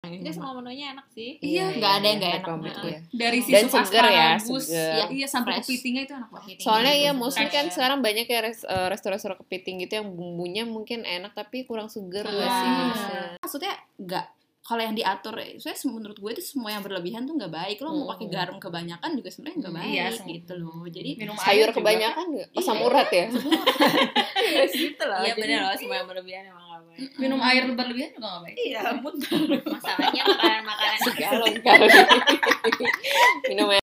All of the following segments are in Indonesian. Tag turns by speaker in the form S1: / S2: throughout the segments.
S1: Tapi semua Iya, menunya enak sih.
S2: Iya.
S3: nggak ada yang nggak
S2: I
S3: enak
S2: promise,
S3: Heeh.
S2: iya.
S4: dari
S2: Dan
S4: sisi
S2: seger ya,
S4: asparagus
S2: seger.
S4: ya, iya sampai
S3: Fresh.
S4: kepitingnya itu enak banget
S1: gitu.
S2: Soalnya
S3: Iya,
S2: ya
S3: bagus.
S2: mostly kan
S1: Fresh.
S2: sekarang banyak ya res- eh, restoran-restoran kepiting gitu yang bumbunya mungkin enak tapi kurang seger
S4: Iya.
S2: nggak sih biasanya?
S4: maksudnya nggak kalau yang diatur saya menurut gue itu semua yang berlebihan tuh nggak baik lo mau
S2: Mm.
S4: pakai garam kebanyakan juga sebenarnya nggak
S3: Mm,
S4: baik
S3: iya, sih.
S4: gitu loh jadi
S1: Minum air
S2: Sayur
S1: juga.
S2: kebanyakan nggak? Oh,
S4: Iya.
S2: samurat ya?
S4: gitu lah
S1: Iya
S4: jadi-
S1: bener loh, semua yang berlebihan emang gak baik.
S4: minum
S3: minum
S4: air
S3: air berlebihan juga nggak baik
S4: iya muntah
S1: Masalahnya makanan-makanan
S2: Galon kali. Minum air.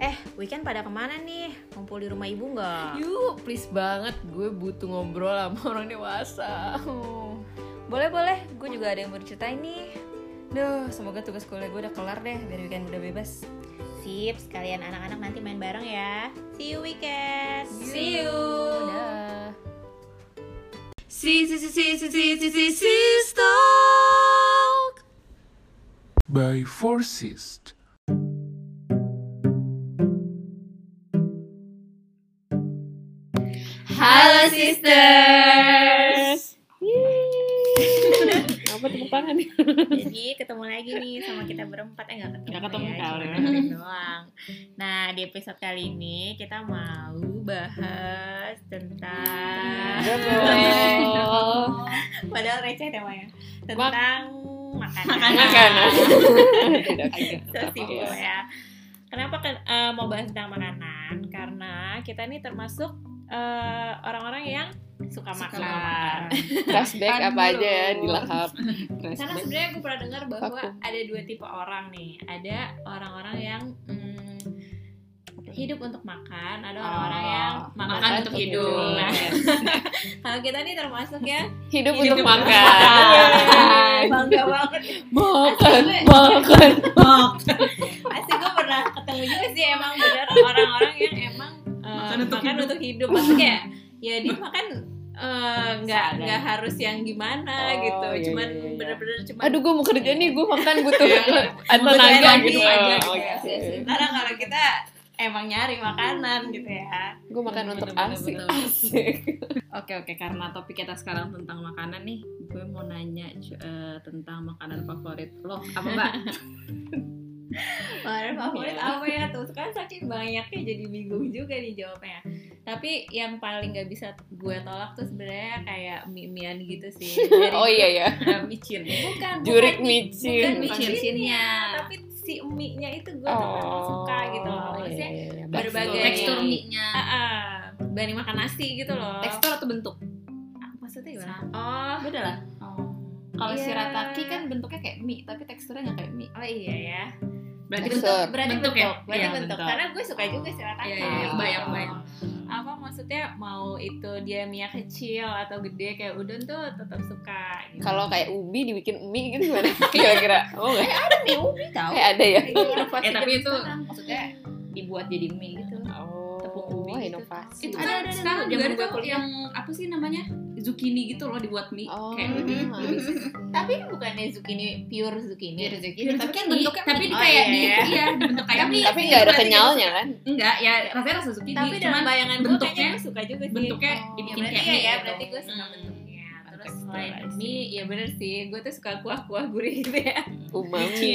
S5: Eh, weekend pada kemana nih? Ngumpul di rumah ibu nggak?
S3: yuk please banget gue butuh ngobrol sama orang dewasa
S5: Boleh-boleh, gue juga ada yang baru ceritain nih Duh, semoga tugas kuliah gue udah kelar deh, biar weekend udah bebas Sip, sekalian anak-anak nanti main bareng ya See you weekend See you
S3: Dah.
S5: See, see, see, see, see, see, see, see, see,
S6: by forces.
S5: Halo sisters
S2: Apa tepuk tangan ya? nih?
S5: Jadi ketemu lagi nih sama kita berempat eh nggak ketemu,
S1: Nggak ketemu
S5: ya,
S1: kali.
S5: cuma dengerin doang. Nah di episode kali ini kita mau bahas tentang
S1: Oh,
S5: padahal receh temanya tentang makanan.
S2: Makanan.
S5: So simple ya. Kenapa kan- eh, mau bahas tentang makanan? Karena kita nih termasuk eh, orang-orang yang suka, makan.
S2: Flashback apa
S1: Aduh.
S2: aja ya dilahap.
S5: Karena
S2: Flashback.
S5: sebenarnya gue pernah dengar bahwa
S2: Aku.
S5: ada dua tipe orang nih. Ada orang-orang yang mm, hidup untuk makan, ada orang-orang
S1: Oh,
S5: yang makan,
S1: makan
S5: untuk
S1: untuk
S5: hidup.
S1: hidup.
S5: Nah, kalau kita nih termasuk ya
S2: Hidup
S5: hidup
S2: untuk makan.
S5: bangga banget.
S2: Iya. Makan, makan.
S5: Pasti gue pernah ketemu juga sih emang bener orang-orang yang emang eh, makan, untuk, hidup. Maksudnya ya dia makan eh, nggak
S1: Seadanya.
S5: nggak harus yang gimana
S2: Oh,
S5: gitu,
S2: iya,
S5: cuman
S2: iya, iya.
S5: bener-bener cuman
S2: Aduh, gue mau kerja nih, gue makan butuh atau
S5: Butuh
S2: naga
S5: energi
S2: gitu.
S5: aja
S2: Oh,
S5: gitu ya.
S2: oke.
S5: Sementara kalau kita emang nyari makanan gitu ya.
S2: Gue makan
S1: Bener,
S2: untuk
S1: bener,
S2: asik.
S1: bener.
S2: asik.
S1: Oke oke
S2: Hmm.
S1: karena topik kita sekarang tentang makanan nih, gue mau nanya eh, tentang makanan favorit lo apa mbak?
S5: Makanan favorit
S1: Iya.
S5: apa ya tuh? Kan saking banyaknya jadi bingung juga nih jawabnya. Tapi yang paling gak bisa gue tolak tuh sebenarnya kayak mie-mian gitu sih. Dari-
S2: Oh iya ya.
S1: Eh, micin.
S5: Bukan.
S2: Jurik
S5: bukan- Bukan
S2: micin.
S1: Bukan
S5: micinnya,
S1: micinnya.
S5: tapi si mie-nya itu gue oh, suka gitu loh. Maksudnya
S2: iya, iya.
S5: berbagai-
S1: Tekstur
S2: Tekstur-
S1: mie-nya.
S5: ah, ah, banding makan nasi gitu loh. Ah,
S1: Tekstur atau bentuk?
S5: maksudnya gimana? Oh,
S1: Beda lah. Kalau
S5: Iya.
S1: shirataki kan bentuknya kayak mie, tapi teksturnya nggak kayak mie.
S5: oh iya ya.
S1: Berarti
S2: Tekstur.
S1: bentuk.
S5: Berarti bentuk,
S1: Bentuk ya?
S5: berarti
S1: Iya,
S5: bentuk.
S1: bentuk.
S5: Karena gue suka juga sirataki.
S1: Iya, iya, iya. Bayang, bayang.
S5: apa maksudnya mau itu dia mie kecil atau gede kayak udon tuh tetap suka gitu.
S2: Kalau kayak ubi dibikin mie gitu gimana? Kira-kira. Oh enggak.
S1: Mie Eh, ubi tau.
S2: Eh ada ya.
S1: Eh tapi itu maksudnya dibuat jadi mie gitu.
S2: Oh,
S1: Tepung ubi gitu.
S2: inovasi.
S1: Itu
S4: Ada,
S1: kan
S4: ada, ada.
S1: sekarang
S4: Juga
S1: juga
S4: ada
S1: ada
S4: tuh
S1: yang apa sih namanya? Zucchini gitu loh dibuat mie.
S2: Oh,
S1: Kayak
S2: habis.
S5: tapi ini bukannya zucchini pure zucchini
S1: Zucchini, tapi kan
S4: Zucchini.
S1: bentuknya tapi
S5: Oh,
S1: kayak
S5: iya,
S1: di
S5: iya.
S1: iya, dibentuk kayak mie.
S2: tapi nggak ada
S1: Berarti
S2: kenyalnya kan?
S1: gitu. Enggak, ya rasanya rasa zucchini.
S5: tapi dalam
S1: cuman
S5: bayangan gue
S1: bentuknya-
S5: kayaknya gue suka juga sih
S1: bentuknya
S2: Oh,
S5: ya,
S1: dibikin
S5: berarti
S1: kayak
S5: ya,
S1: mie.
S5: ya
S1: gitu.
S5: berarti gue suka
S1: Hmm.
S5: bentuknya terus
S1: Bentuk
S5: selain
S1: slice.
S5: mie ya bener sih gue tuh suka kuah-kuah gurih gitu ya
S2: Umami.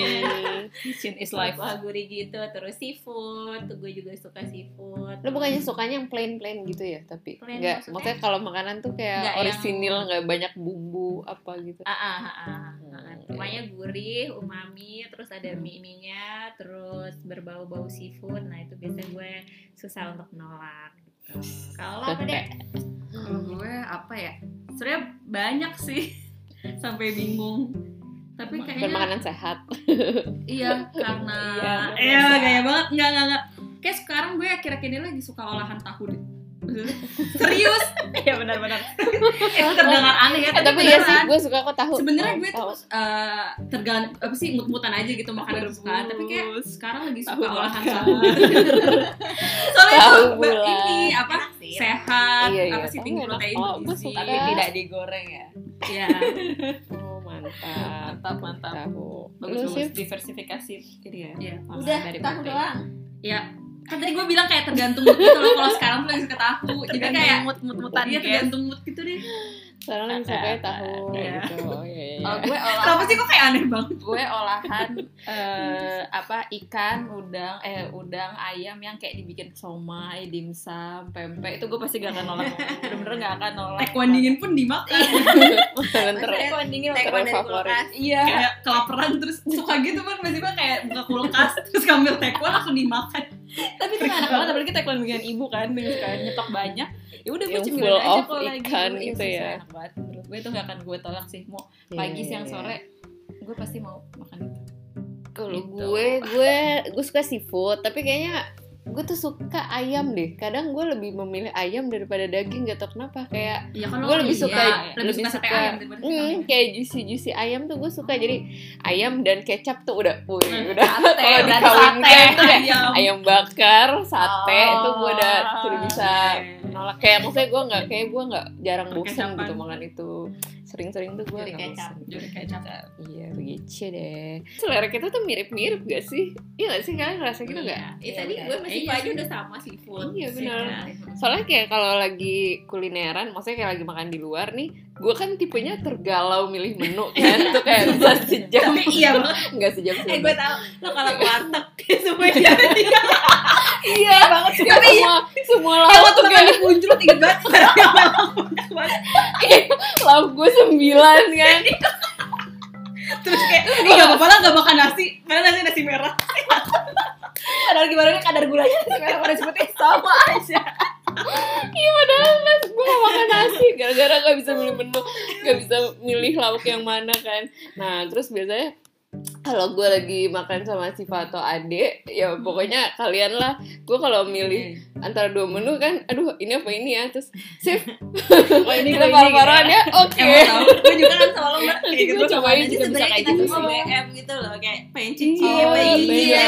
S1: Kitchen is life.
S5: kuah gurih gitu terus seafood tuh gue juga suka seafood
S2: Lu bukannya sukanya yang plain-plain gitu ya, tapi
S5: Plain
S2: enggak.
S5: maksudnya?
S2: Maksudnya kalau makanan tuh kayak
S5: Nggak yang-
S2: orisinil, nggak banyak bumbu apa gitu.
S5: Ah, ah, ah, ah.
S1: Oh, iya.
S5: Rumahnya gurih, umami, terus ada
S1: Hmm.
S5: mie-minya, terus berbau-bau seafood. Nah, itu biasanya gue susah untuk nolak. gitu. Kalau apa deh?
S2: Hmm.
S1: Kalau gue apa ya? Sebenarnya banyak sih. Sampai bingung. Tapi
S2: Dan
S1: kayaknya
S2: makanan sehat.
S1: Iya, karena
S2: Iya,
S1: iya, gaya banget. Enggak, enggak, enggak. Kayak sekarang gue akhir-akhir ini lagi suka olahan tahu deh. Serius? Iya benar-benar. Itu terdengar aneh ya,
S2: Eh, tapi iya sih, gue suka kok tahu.
S1: Sebenarnya gue
S2: Tahu.
S1: tuh eh tergan apa sih mut-mutan aja gitu makanan
S2: Rebus.
S1: kesukaan, tapi kayak sekarang lagi suka
S2: Tahu
S1: olahan
S2: bakar.
S1: tahu. Soalnya
S2: Tahu
S1: itu ba-
S2: bulat.
S1: ini apa?
S5: Enak sih. ya.
S1: Sehat,
S2: Iya, iya.
S1: apa sih
S2: Tahu
S1: tinggi
S2: enak.
S1: protein,
S2: Oh, gue
S1: bergizi.
S2: suka.
S5: Iya.
S1: Tapi tidak
S3: digoreng ya
S1: Iya.
S2: Oh, mantap.
S1: Mantap, mantap.
S2: Tahu.
S1: Bagus,
S2: Lu sih
S1: bagus. Diversifikasi. Jadi ya. Iya, olahan
S5: Udah,
S1: dari
S5: tahu
S1: protein.
S5: doang.
S1: kan tadi gue bilang kayak tergantung gitu loh kalau sekarang tuh lagi suka tahu jadi kayak
S4: mut mut mutan
S1: iya tergantung mood gitu deh
S2: Sekarang yang sukanya ya tahu
S1: Iya.
S2: gitu. Oh, iya, iya, iya.
S4: Kalau gue olahan
S1: Kenapa sih kok kayak aneh banget?
S4: gue olahan eh, apa ikan udang eh udang ayam yang kayak dibikin somai dimsum pempek itu gue pasti gak akan nolak bener-bener gak akan nolak
S1: Tekwan dingin pun dimakan.
S2: Makanan ter-
S5: Tekwan dingin
S2: Tekwan dari kulkas.
S4: iya
S1: kayak kelaparan terus suka gitu kan tiba-tiba kayak buka kulkas terus ngambil tekwan langsung dimakan
S4: tapi itu nggak enak banget apalagi tekwan bikinan ibu kan dengan suka nyetok banyak ya udah gue
S2: Yang
S4: cemilin
S2: full
S4: aja
S2: of
S4: kalau lagi
S2: ikan
S4: Iya,
S2: gitu
S4: susah,
S2: ya.
S4: enak banget menurut gue itu gak akan gue tolak sih mau pagi
S2: Iya,
S4: siang
S2: iya.
S4: sore gue pasti mau makan itu
S2: Kalau
S4: Gitu.
S2: gue, gue, gue suka seafood, tapi kayaknya gue tuh suka ayam deh. Kadang gue lebih memilih ayam daripada daging, gak tau kenapa. Kayak,
S1: iya kan lo
S2: Gue lebih
S1: iya,
S2: suka-
S1: lebih,
S2: lebih
S1: suka sate
S2: suka-
S1: ayam daripada sate
S2: hmm,
S1: kambing.
S2: kayak juicy juicy ayam tuh gue suka. Jadi ayam dan kecap tuh udah, wih,
S1: Hmm,
S2: udah. Kalau
S4: dan
S2: dikawinkan tuh kayak
S1: ayam
S2: ayam bakar, sate
S4: Oh.
S2: tuh gue udah udah bisa
S1: Oke.
S2: nolak. Kayak maksudnya gue nggak, kayak gue nggak jarang bosan
S1: Kekecapan.
S2: gitu makan itu. Sering-sering tuh gue
S5: Jadi
S2: nggak
S5: kecap.
S2: bosan.
S1: Juri kecap.
S2: Iya, begitu deh. Selera kita tuh mirip-mirip gak sih? Iya gak sih? Kalian ngerasa gitu gak?
S5: Iya, tadi
S1: benar.
S5: gue masih
S1: Iya
S5: aja
S1: sih.
S5: udah sama seafood.
S2: Iya, benar.
S5: Nah,
S2: Soalnya kayak kalau lagi kulineran, maksudnya kayak lagi makan di luar nih, gue kan tipenya tergalau milih menu kan, tuh kayak bisa sejam,
S1: tapi iya banget
S2: nggak sejam sih.
S5: Eh gue tau lo kalau ke warteg semua jadi
S2: iya banget, semua semua lauk tuh kayak
S1: muncul inget banget
S2: lauk gue sembilan kan.
S1: terus kayak
S5: Iya.
S1: ini gak apa-apa lah gak makan nasi karena nasi nasi merah
S5: padahal gimana nih kadar gulanya sekarang pada sebutnya sama aja.
S2: Iya padahal mas gue mau makan nasi gara-gara gak bisa milih menu, gak bisa milih lauk yang mana kan. Nah terus biasanya kalau gue lagi makan sama si Fato Ade,
S4: Hmm.
S2: ya pokoknya kalian lah. Gue kalau milih antara dua menu kan, aduh ini apa ini ya? Terus Sif,
S1: oh ini
S2: kita
S4: gitu
S2: parah-parahan ya? Oke.
S1: emang tau
S5: gitu. Gue juga kan sama lo mbak.
S2: Nanti gue cobain juga bisa
S5: sebenarnya
S2: kayak
S5: kita
S2: gitu
S5: semua
S2: sih.
S5: BM gitu loh kayak pengen cici
S2: Iya,
S5: pengen cici.
S2: iya.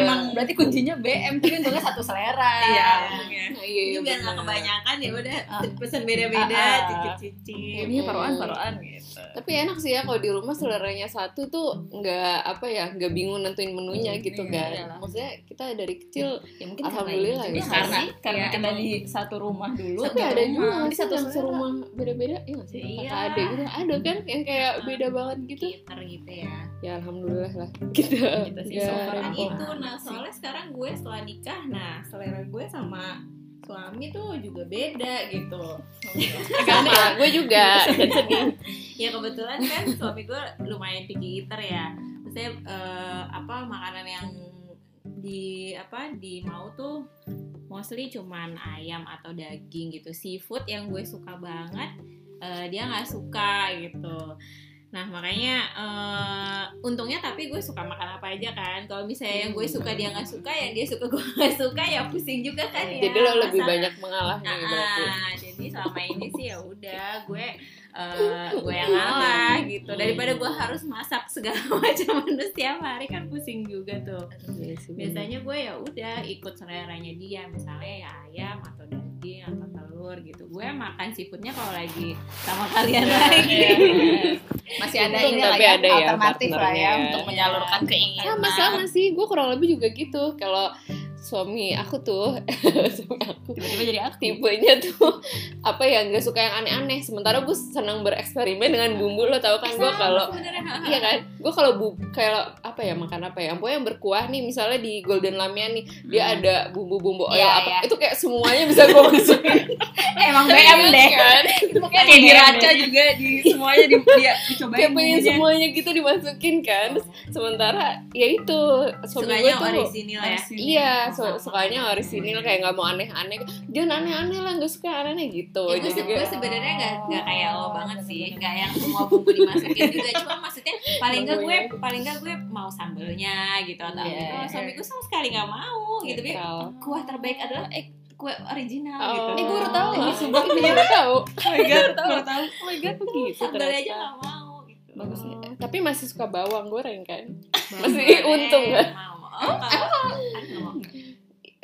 S5: Emang berarti kuncinya BM tapi untungnya satu selera.
S1: Iya.
S5: untungnya.
S2: Nah, Iya,
S5: Ini
S2: iya,
S5: biar nggak
S2: bener.
S5: kebanyakan ya udah
S4: Ah.
S5: pesan beda-beda,
S4: Ah, ah.
S5: cicip-cicip.
S4: ini paroan paroan gitu
S2: Iya, Tapi enak sih ya kalau di rumah seleranya satu tuh nggak apa ya nggak bingung nentuin menunya gitu kan.
S4: Hmm, iya, iyalah.
S2: Maksudnya kita dari kecil
S4: ya mungkin
S2: Alhamdulillah
S4: karena, ini
S2: ya.
S4: juga karena,
S1: Iya,
S4: karena
S1: emang.
S4: kita di satu rumah dulu
S2: tapi ada juga
S4: nanti
S2: nanti satu
S4: satu selera.
S2: rumah beda-beda ya nggak sih
S5: Iya.
S2: Kata ada gitu ada kan yang kayak beda banget gitu
S5: Pinter gitu ya.
S2: ya alhamdulillah lah kita
S4: Iya. Gitu sih,
S2: ya,
S4: so far
S5: Kan
S4: Apa?
S5: itu nah soalnya sekarang gue setelah nikah nah selera gue sama suami tuh juga beda gitu
S2: sama gue juga
S4: Iya.
S2: dan sedih
S5: ya kebetulan kan suami gue lumayan picky eater ya maksudnya eh, apa makanan yang di apa di mau tuh mostly cuman ayam atau daging gitu seafood yang gue suka banget eh, dia nggak suka gitu nah makanya eh, untungnya tapi gue suka makan apa aja kan kalau misalnya yang gue suka dia nggak suka yang dia suka gue nggak suka ya pusing juga kan
S4: Iya,
S5: ya
S2: Iya. jadi lo lebih
S5: Masalah.
S2: banyak mengalah nih Gitu berarti
S5: Ah, jadi selama ini sih ya udah gue eh, gue yang ngalah gitu daripada gue harus masak segala macam menu setiap hari kan pusing juga tuh
S2: Iya sih, bener.
S5: biasanya gue ya udah ikut seleranya dia misalnya ya ayam atau daging atau telur gitu gue makan seafoodnya kalau lagi sama kalian lagi
S4: masih ada
S2: Untung
S4: ini
S2: tapi
S4: lah ya,
S2: ada ya
S4: alternatif lah ya
S2: partnernya.
S4: untuk menyalurkan keinginan
S2: sama sama sih gue kurang lebih juga gitu kalau suami aku tuh suami aku
S4: tiba-tiba jadi aktif
S2: tipenya tuh apa ya nggak suka yang aneh-aneh sementara gue senang bereksperimen dengan bumbu lo tau kan gue kalau iya kan gue kalau bu kalau apa ya makan apa ya pokoknya yang berkuah nih misalnya di golden lamia nih dia ada bumbu-bumbu oil
S4: Iya,
S2: apa
S4: iya.
S2: itu kayak semuanya bisa gue masukin
S4: emang
S2: Serius, kan?
S5: Iya,
S1: kayak diraca juga di semuanya di dia dicobain
S2: kayak pengen
S1: bumbunya.
S2: semuanya gitu dimasukin kan Terus, sementara ya itu suami gue
S5: sukanya
S2: tuh
S5: orisinil ya
S2: Iya, su- sukanya orisinil kayak nggak mau aneh-aneh. Jangan aneh-aneh lah, nggak suka aneh-aneh gitu.
S5: Ya, gue,
S2: Jadi
S5: se-
S2: kayak-
S5: gue sebenarnya gak, gak kayak lo banget sih Gak yang semua bumbu dimasukin juga Cuma maksudnya paling gak gue paling gak gue mau sambelnya gitu Atau apa
S2: Iya.
S5: Kalau suami gue sama sekali gak mau gitu Dia,
S2: Netral.
S5: Kuah terbaik adalah eh, kue original gitu
S2: Oh.
S5: Eh gue baru tau
S2: tahu. Gue baru tahu.
S1: oh my god baru tahu
S2: Oh my god, begitu
S5: Sambelnya aja
S2: ternyata.
S5: gak mau gitu
S2: Bagus ya. Tapi masih suka bawang goreng kan? Masih untung
S5: Eh,
S2: gak?
S5: mau. Oh, kalau- kan gak mau.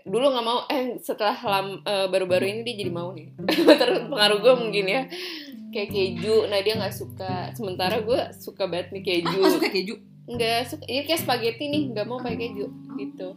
S2: Dulu nggak mau, eh setelah lam- eh, baru-baru ini dia jadi mau nih. Terus pengaruh gue mungkin ya. Kayak keju, nah dia nggak suka. Sementara gue suka banget
S5: Oh,
S2: nih keju. Iya,
S1: masuk ke keju
S2: Nggak suka, ya kayak spaghetti nih, nggak mau pakai keju gitu.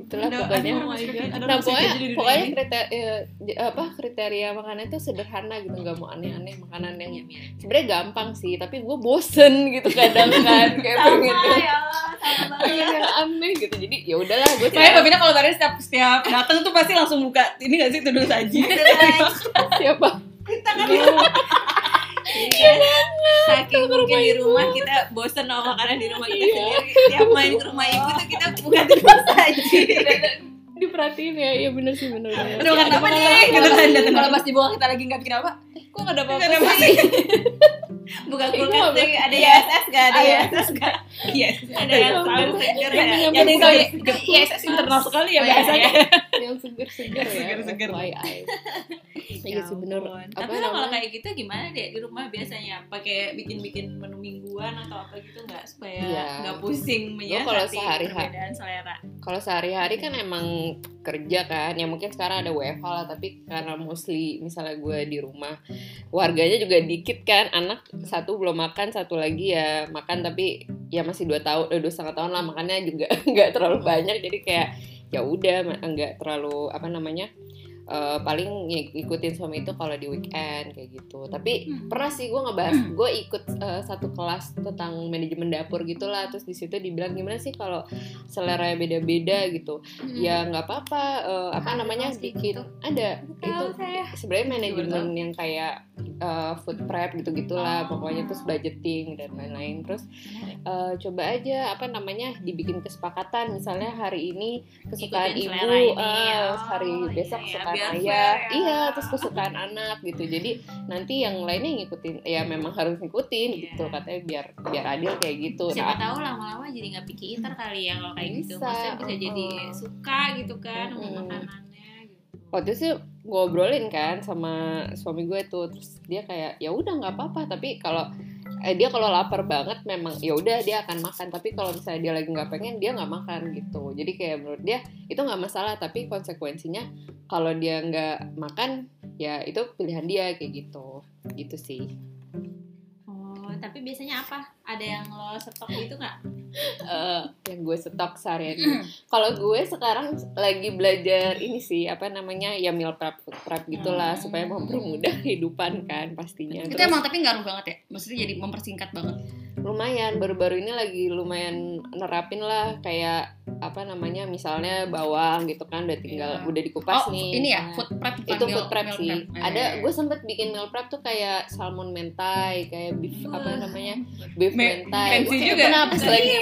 S2: itulah
S1: Ada-
S2: pokoknya
S1: ada rumah
S5: gitu.
S1: sakit- ada
S2: nah
S1: rumah sakit
S2: pokoknya
S1: jadi di dunia
S2: pokoknya
S1: ini.
S2: kriteria eh, j- apa kriteria makanan itu sederhana gitu nggak mau aneh-aneh makanan yang sebenarnya gampang sih tapi gue bosen gitu kadang kan kayak pengen yang-
S5: ya Allah, sama
S2: yang aneh gitu jadi ya udahlah gue
S1: Saya Babina kalau bareng setiap setiap datang tuh pasti langsung buka ini gak sih itu dulu saji.
S5: Iya,
S2: siapa
S5: Saking mungkin di rumah kita bosen sama makanan di rumah
S4: Iya.
S5: kita sendiri. Tiap main ke rumah ibu tuh kita buka terus aja.
S2: diperhatiin ya iya bener sih bener bener
S1: Aduh makan apa nih? Gitu kan datang.
S4: Kalau pas dibawa kita lagi nggak bikin apa, eh, kok nggak ada apa-apa
S1: Nggak ada apa-apa.
S4: sih?
S5: Buka kulkas tuh ada ISS gak ada
S4: Iya.
S5: ya?
S1: Yes.
S5: Ada yang sahur seger ya.
S2: Yang
S1: Jadi
S2: penting
S1: itu- itu ISS internal sekali ya bahasanya.
S2: iya. yang seger-seger ya
S1: Seger-seger.
S2: FYI. iya sih bener
S5: ampun.
S2: apa
S5: Tapi lo kalau
S2: namanya
S5: kayak gitu gimana deh di rumah biasanya pakai bikin-bikin menu mingguan atau apa gitu nggak supaya
S2: Iya.
S5: nggak pusing
S2: Gua kalau
S5: menyiasati
S2: sehari-hari-
S5: perbedaan selera.
S2: kalau sehari-hari kan emang kerja kan ya mungkin sekarang ada WFH lah tapi karena mostly misalnya gue di rumah warganya juga dikit kan anak satu belum makan satu lagi ya makan tapi ya masih dua tahun eh, dua setengah tahun lah makannya juga nggak terlalu banyak jadi kayak ya udah ma- nggak terlalu apa namanya eh, paling ng- ngikutin suami itu kalau di weekend kayak gitu tapi pernah sih gue ngebahas gue ikut eh, satu kelas tentang manajemen dapur gitulah terus di situ dibilang gimana sih kalau selera beda-beda gitu
S5: Hmm. Iya,
S2: ya nggak apa-apa eh, apa
S5: Nah,
S2: namanya
S5: gitu.
S2: bikin ada itu
S5: Iya,
S2: sebenarnya manajemen yang kayak eh, food prep gitu gitulah
S5: Oh.
S2: pokoknya terus budgeting dan lain-lain terus eh, coba aja apa namanya dibikin kesepakatan misalnya hari ini kesukaan
S5: Ikutin
S2: ibu
S5: selera ini,
S2: eh,
S5: oh,
S2: hari
S5: iya,
S2: besok
S5: iya,
S2: kesukaan
S5: biar
S2: ayah
S5: fair ya.
S2: iya terus kesukaan anak gitu jadi nanti yang lainnya ngikutin ya memang harus ngikutin
S5: Iya.
S2: gitu katanya biar biar adil kayak gitu
S5: Siapa
S2: Nah,
S5: tahu lama-lama jadi nggak picky eater kali ya kalau kayak gitu.
S2: Bisa,
S5: Maksudnya bisa jadi
S2: uh-uh.
S5: suka gitu kan sama
S2: Mm-mm.
S5: makanannya. Gitu.
S2: waktu itu sih ngobrolin kan sama suami gue tuh terus dia kayak ya udah nggak apa-apa tapi kalau eh, dia kalau lapar banget memang ya udah dia akan makan tapi kalau misalnya dia lagi nggak pengen dia nggak makan gitu jadi kayak menurut dia itu nggak masalah tapi konsekuensinya kalau dia nggak makan ya itu pilihan dia kayak gitu gitu sih
S5: Oh, tapi biasanya apa? Ada yang lo stok gitu nggak? Hmm.
S2: eh, yang gue stok seharian ini. Kalau gue sekarang lagi belajar ini sih apa namanya ya meal prep food prep gitulah
S1: Hmm.
S2: supaya mempermudah kehidupan kan
S4: Ya,
S2: pastinya.
S1: Itu
S2: Terus
S1: emang tapi ngaruh banget ya. Maksudnya
S4: Hmm.
S1: jadi mempersingkat banget.
S2: lumayan baru-baru ini lagi lumayan nerapin lah kayak apa namanya misalnya bawang gitu kan udah tinggal
S1: Iya.
S2: udah
S1: Oh,
S2: dikupas nih.
S1: ini ya
S2: Nah,
S1: food prep bukan
S2: itu
S1: meal-
S2: food prep
S1: meal
S2: sih.
S1: prep.
S2: Ada
S1: Eh.
S2: gue sempet bikin meal prep tuh kayak salmon mentai, kayak beef apa
S5: Wah.
S2: namanya? beef
S1: Me-
S2: mentai.
S1: fancy
S2: Gua kayak
S1: juga. Iya,
S2: Kenapa pas lagi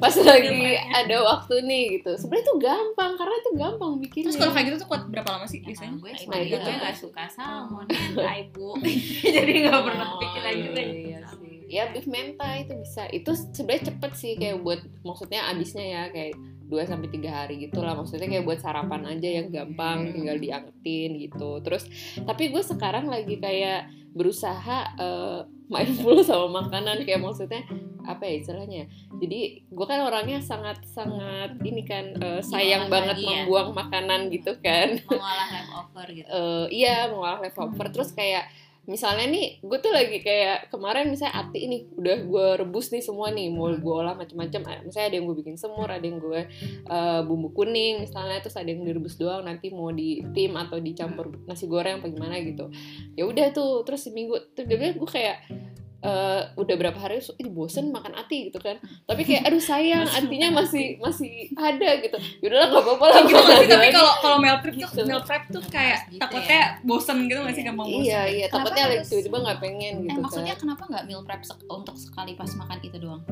S2: pas lagi ada waktu nih gitu sebenarnya tuh gampang karena tuh gampang bikinnya
S1: Terus kalau kayak gitu tuh kuat berapa lama
S4: Ya
S1: sih
S5: Biasanya
S1: biasanya?
S5: gue
S2: Nah,
S5: sendiri
S2: iya.
S5: gue nggak suka salmon
S4: kan?
S5: ya, ibu. jadi nggak pernah kepikiran
S2: Oh. Iya,
S5: gitu.
S4: Eh,
S2: iya sih. ya beef mentai itu bisa itu sebenarnya cepet sih kayak buat maksudnya abisnya ya kayak 2 sampai tiga hari gitu lah maksudnya kayak buat sarapan aja yang gampang tinggal diangetin gitu terus tapi gue sekarang lagi kayak berusaha eh, mindful sama makanan kayak maksudnya apa ya istilahnya jadi gue kan orangnya sangat sangat ini kan eh, sayang
S5: Diolah
S2: banget
S5: lagi ya.
S2: membuang makanan gitu kan
S5: Mengolah leftover gitu.
S2: eh iya mengolah leftover terus kayak misalnya nih gue tuh lagi kayak kemarin misalnya ati ini udah gue rebus nih semua nih mau gue olah macam-macam Ah, misalnya ada yang gue bikin semur ada yang gue eh, bumbu kuning misalnya terus ada yang direbus doang nanti mau di tim atau dicampur nasi goreng apa gimana gitu ya udah tuh terus seminggu terus dia bilang, gue kayak eh, udah berapa hari terus, "Ih, bosen makan ati gitu kan tapi kayak aduh sayang artinya masih masih ada gitu yaudahlah nggak apa-apa lah
S1: Gitu nggak sih?
S2: makan
S1: tapi
S2: lagi."
S1: kalau kalau meal prep tuh
S2: Gitu.
S1: meal prep tuh kayak
S4: ya.
S5: Gitu
S1: takutnya bosen gitu nggak sih gampang bosen?
S2: Iya iya,
S4: Kenapa
S2: takutnya lagi
S4: harus-
S2: tiba-tiba nggak pengen gitu
S4: Eh maksudnya
S2: kan.
S4: kenapa nggak meal prep sek- untuk sekali pas makan itu doang?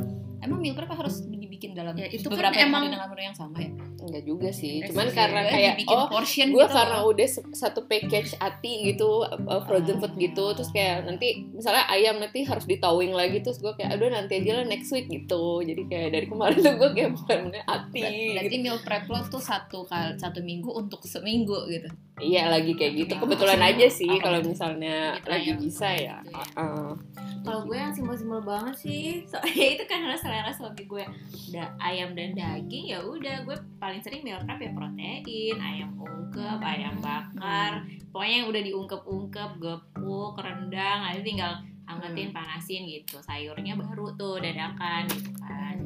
S4: Emang meal prep harus dibikin dalam
S1: Ya, itu
S4: beberapa
S1: kan emang-
S4: hari dengan menu yang sama ya?
S2: Enggak juga sih,
S1: Eh,
S2: Ya, cuman
S1: sih,
S2: karena
S1: iya,
S2: kayak
S1: dibikin
S2: oh
S4: kan
S1: portion
S2: gue
S1: gitu.
S2: karena udah se- satu package ati gitu uh, frozen food
S4: Ah.
S2: gitu terus kayak nanti misalnya ayam nanti harus ditowing lagi terus gue kayak aduh nanti aja lah next week gitu jadi kayak dari kemarin tuh gue kayak bukan punya ati
S4: Berarti
S2: gitu.
S4: meal prep lo tuh satu kali satu minggu untuk seminggu gitu.
S2: iya lagi kayak gitu kebetulan aja sih kalau
S4: Gitu
S2: misalnya lagi bisa ya Uh-uh.
S5: Kalau gue yang simpel-simpel banget sih, soalnya itu kan karena selera suami gue. Udah ayam dan daging ya udah gue paling sering meal prep ya protein, ayam ungkep, ayam bakar, pokoknya yang udah diungkep-ungkep, gepuk, rendang, nanti tinggal hangatin, panasin gitu. Sayurnya baru tuh dadakan gitu kan.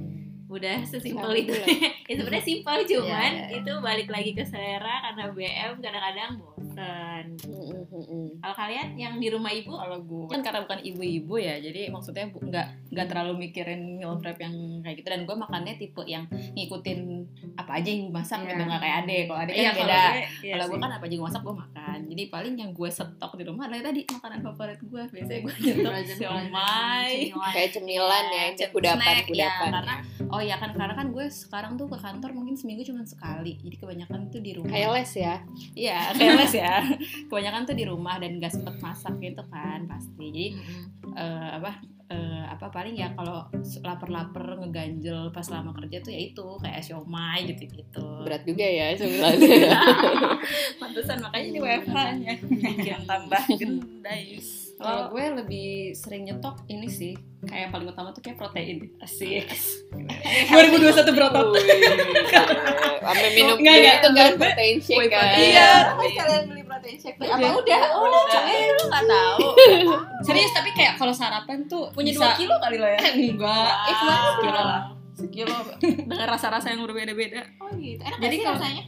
S5: udah sesimpel
S2: Selalu
S5: itu
S2: bulat.
S5: ya sebenarnya simpel cuman
S3: Iya, iya.
S5: itu balik lagi ke selera karena BM kadang-kadang bosen kalau kalian yang di rumah ibu
S4: kalau gue kan karena bukan ibu-ibu ya jadi maksudnya bu- nggak nggak terlalu mikirin meal prep yang kayak gitu dan gue makannya tipe yang ngikutin apa aja yang gue masak
S3: Iya.
S4: gitu nggak kayak ade kalau ade kan
S1: Iya, kalau gue,
S4: beda
S5: ya
S1: iya
S4: kalau
S1: sih.
S4: gue kan apa aja gue masak gue makan jadi paling yang gue stok di rumah adalah tadi makanan favorit gue biasanya gue
S1: Iya,
S4: nyetok siomay Iya,
S2: Kayak cemilan ya, yang kudapan,
S4: Snack,
S2: kudapan.
S4: ya, karena oh ya kan karena kan gue sekarang tuh ke kantor mungkin seminggu cuma sekali jadi kebanyakan tuh di rumah
S2: Kayak les ya.
S4: Iya, keles ya. Kebanyakan tuh di rumah dan gak sempet masak gitu kan pasti. Jadi eh, apa eh, apa paling ya kalau lapar-lapar ngeganjel pas lama kerja tuh ya itu kayak siomay gitu-gitu.
S2: Berat juga ya cemilannya.
S4: Pantesan makanya ini WFH-nya bikin tambah gendai. Kalau gue lebih sering nyetok ini sih kayak paling utama tuh kayak protein asik 2021 berotot
S2: Sampai minum
S4: Nggak,
S2: dia
S4: nggak,
S2: itu kan
S4: nggak.
S2: protein shake kan.
S5: kalian beli protein shake
S4: apa udah Oh, udah coy lu nggak tahu
S1: Iya. Oh, serius tapi kayak kalau sarapan tuh
S4: punya
S1: bisa-
S4: dua kilo kali lo ya
S1: enggak
S4: eh
S1: kemarin
S4: sekilo lah sekilo dengan rasa-rasa yang berbeda-beda
S5: oh gitu enak
S1: Jadi
S5: jadi
S1: kalau-
S5: rasanya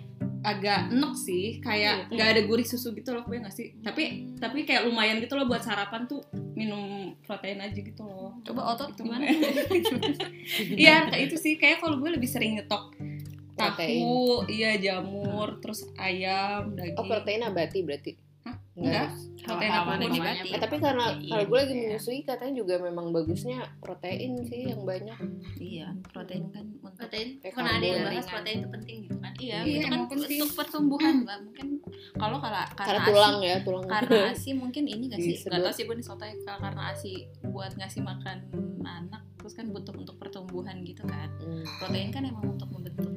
S1: agak enek sih
S4: Iya,
S1: kayak nggak ada gurih susu gitu loh gue nggak sih tapi tapi kayak lumayan gitu loh buat sarapan tuh minum protein aja gitu loh
S4: coba otot
S1: Itu
S4: gimana
S1: iya kayak itu sih kayak kalau gue lebih sering nyetok
S2: Protein.
S1: tahu iya jamur terus ayam daging
S2: Oh protein abadi berarti.
S1: Hah?
S2: Enggak.
S1: protein
S4: Hawa-
S1: apa
S4: hawa
S1: pun
S4: nabati.
S2: Eh, tapi karena
S4: Protein,
S2: kalau gue lagi
S4: iya.
S2: menyusui katanya juga memang bagusnya protein sih yang banyak.
S4: iya protein kan untuk
S5: protein
S2: Kayak
S5: karena ada yang
S2: karbon.
S5: bahas protein itu penting gitu kan
S4: iya,
S1: Iya,
S4: itu kan
S1: emang penting.
S4: untuk pertumbuhan mbak mungkin kalau kalau
S2: Karena
S4: karena,
S2: tulang
S4: asi
S2: ya tulang.
S4: karena asi mungkin ini gak sih
S2: Disebut.
S4: nggak tau sih gue nih sotoy kalau karena asi buat ngasih makan anak terus kan butuh untuk pertumbuhan gitu kan
S2: Hmm,
S4: protein kan emang untuk membentuk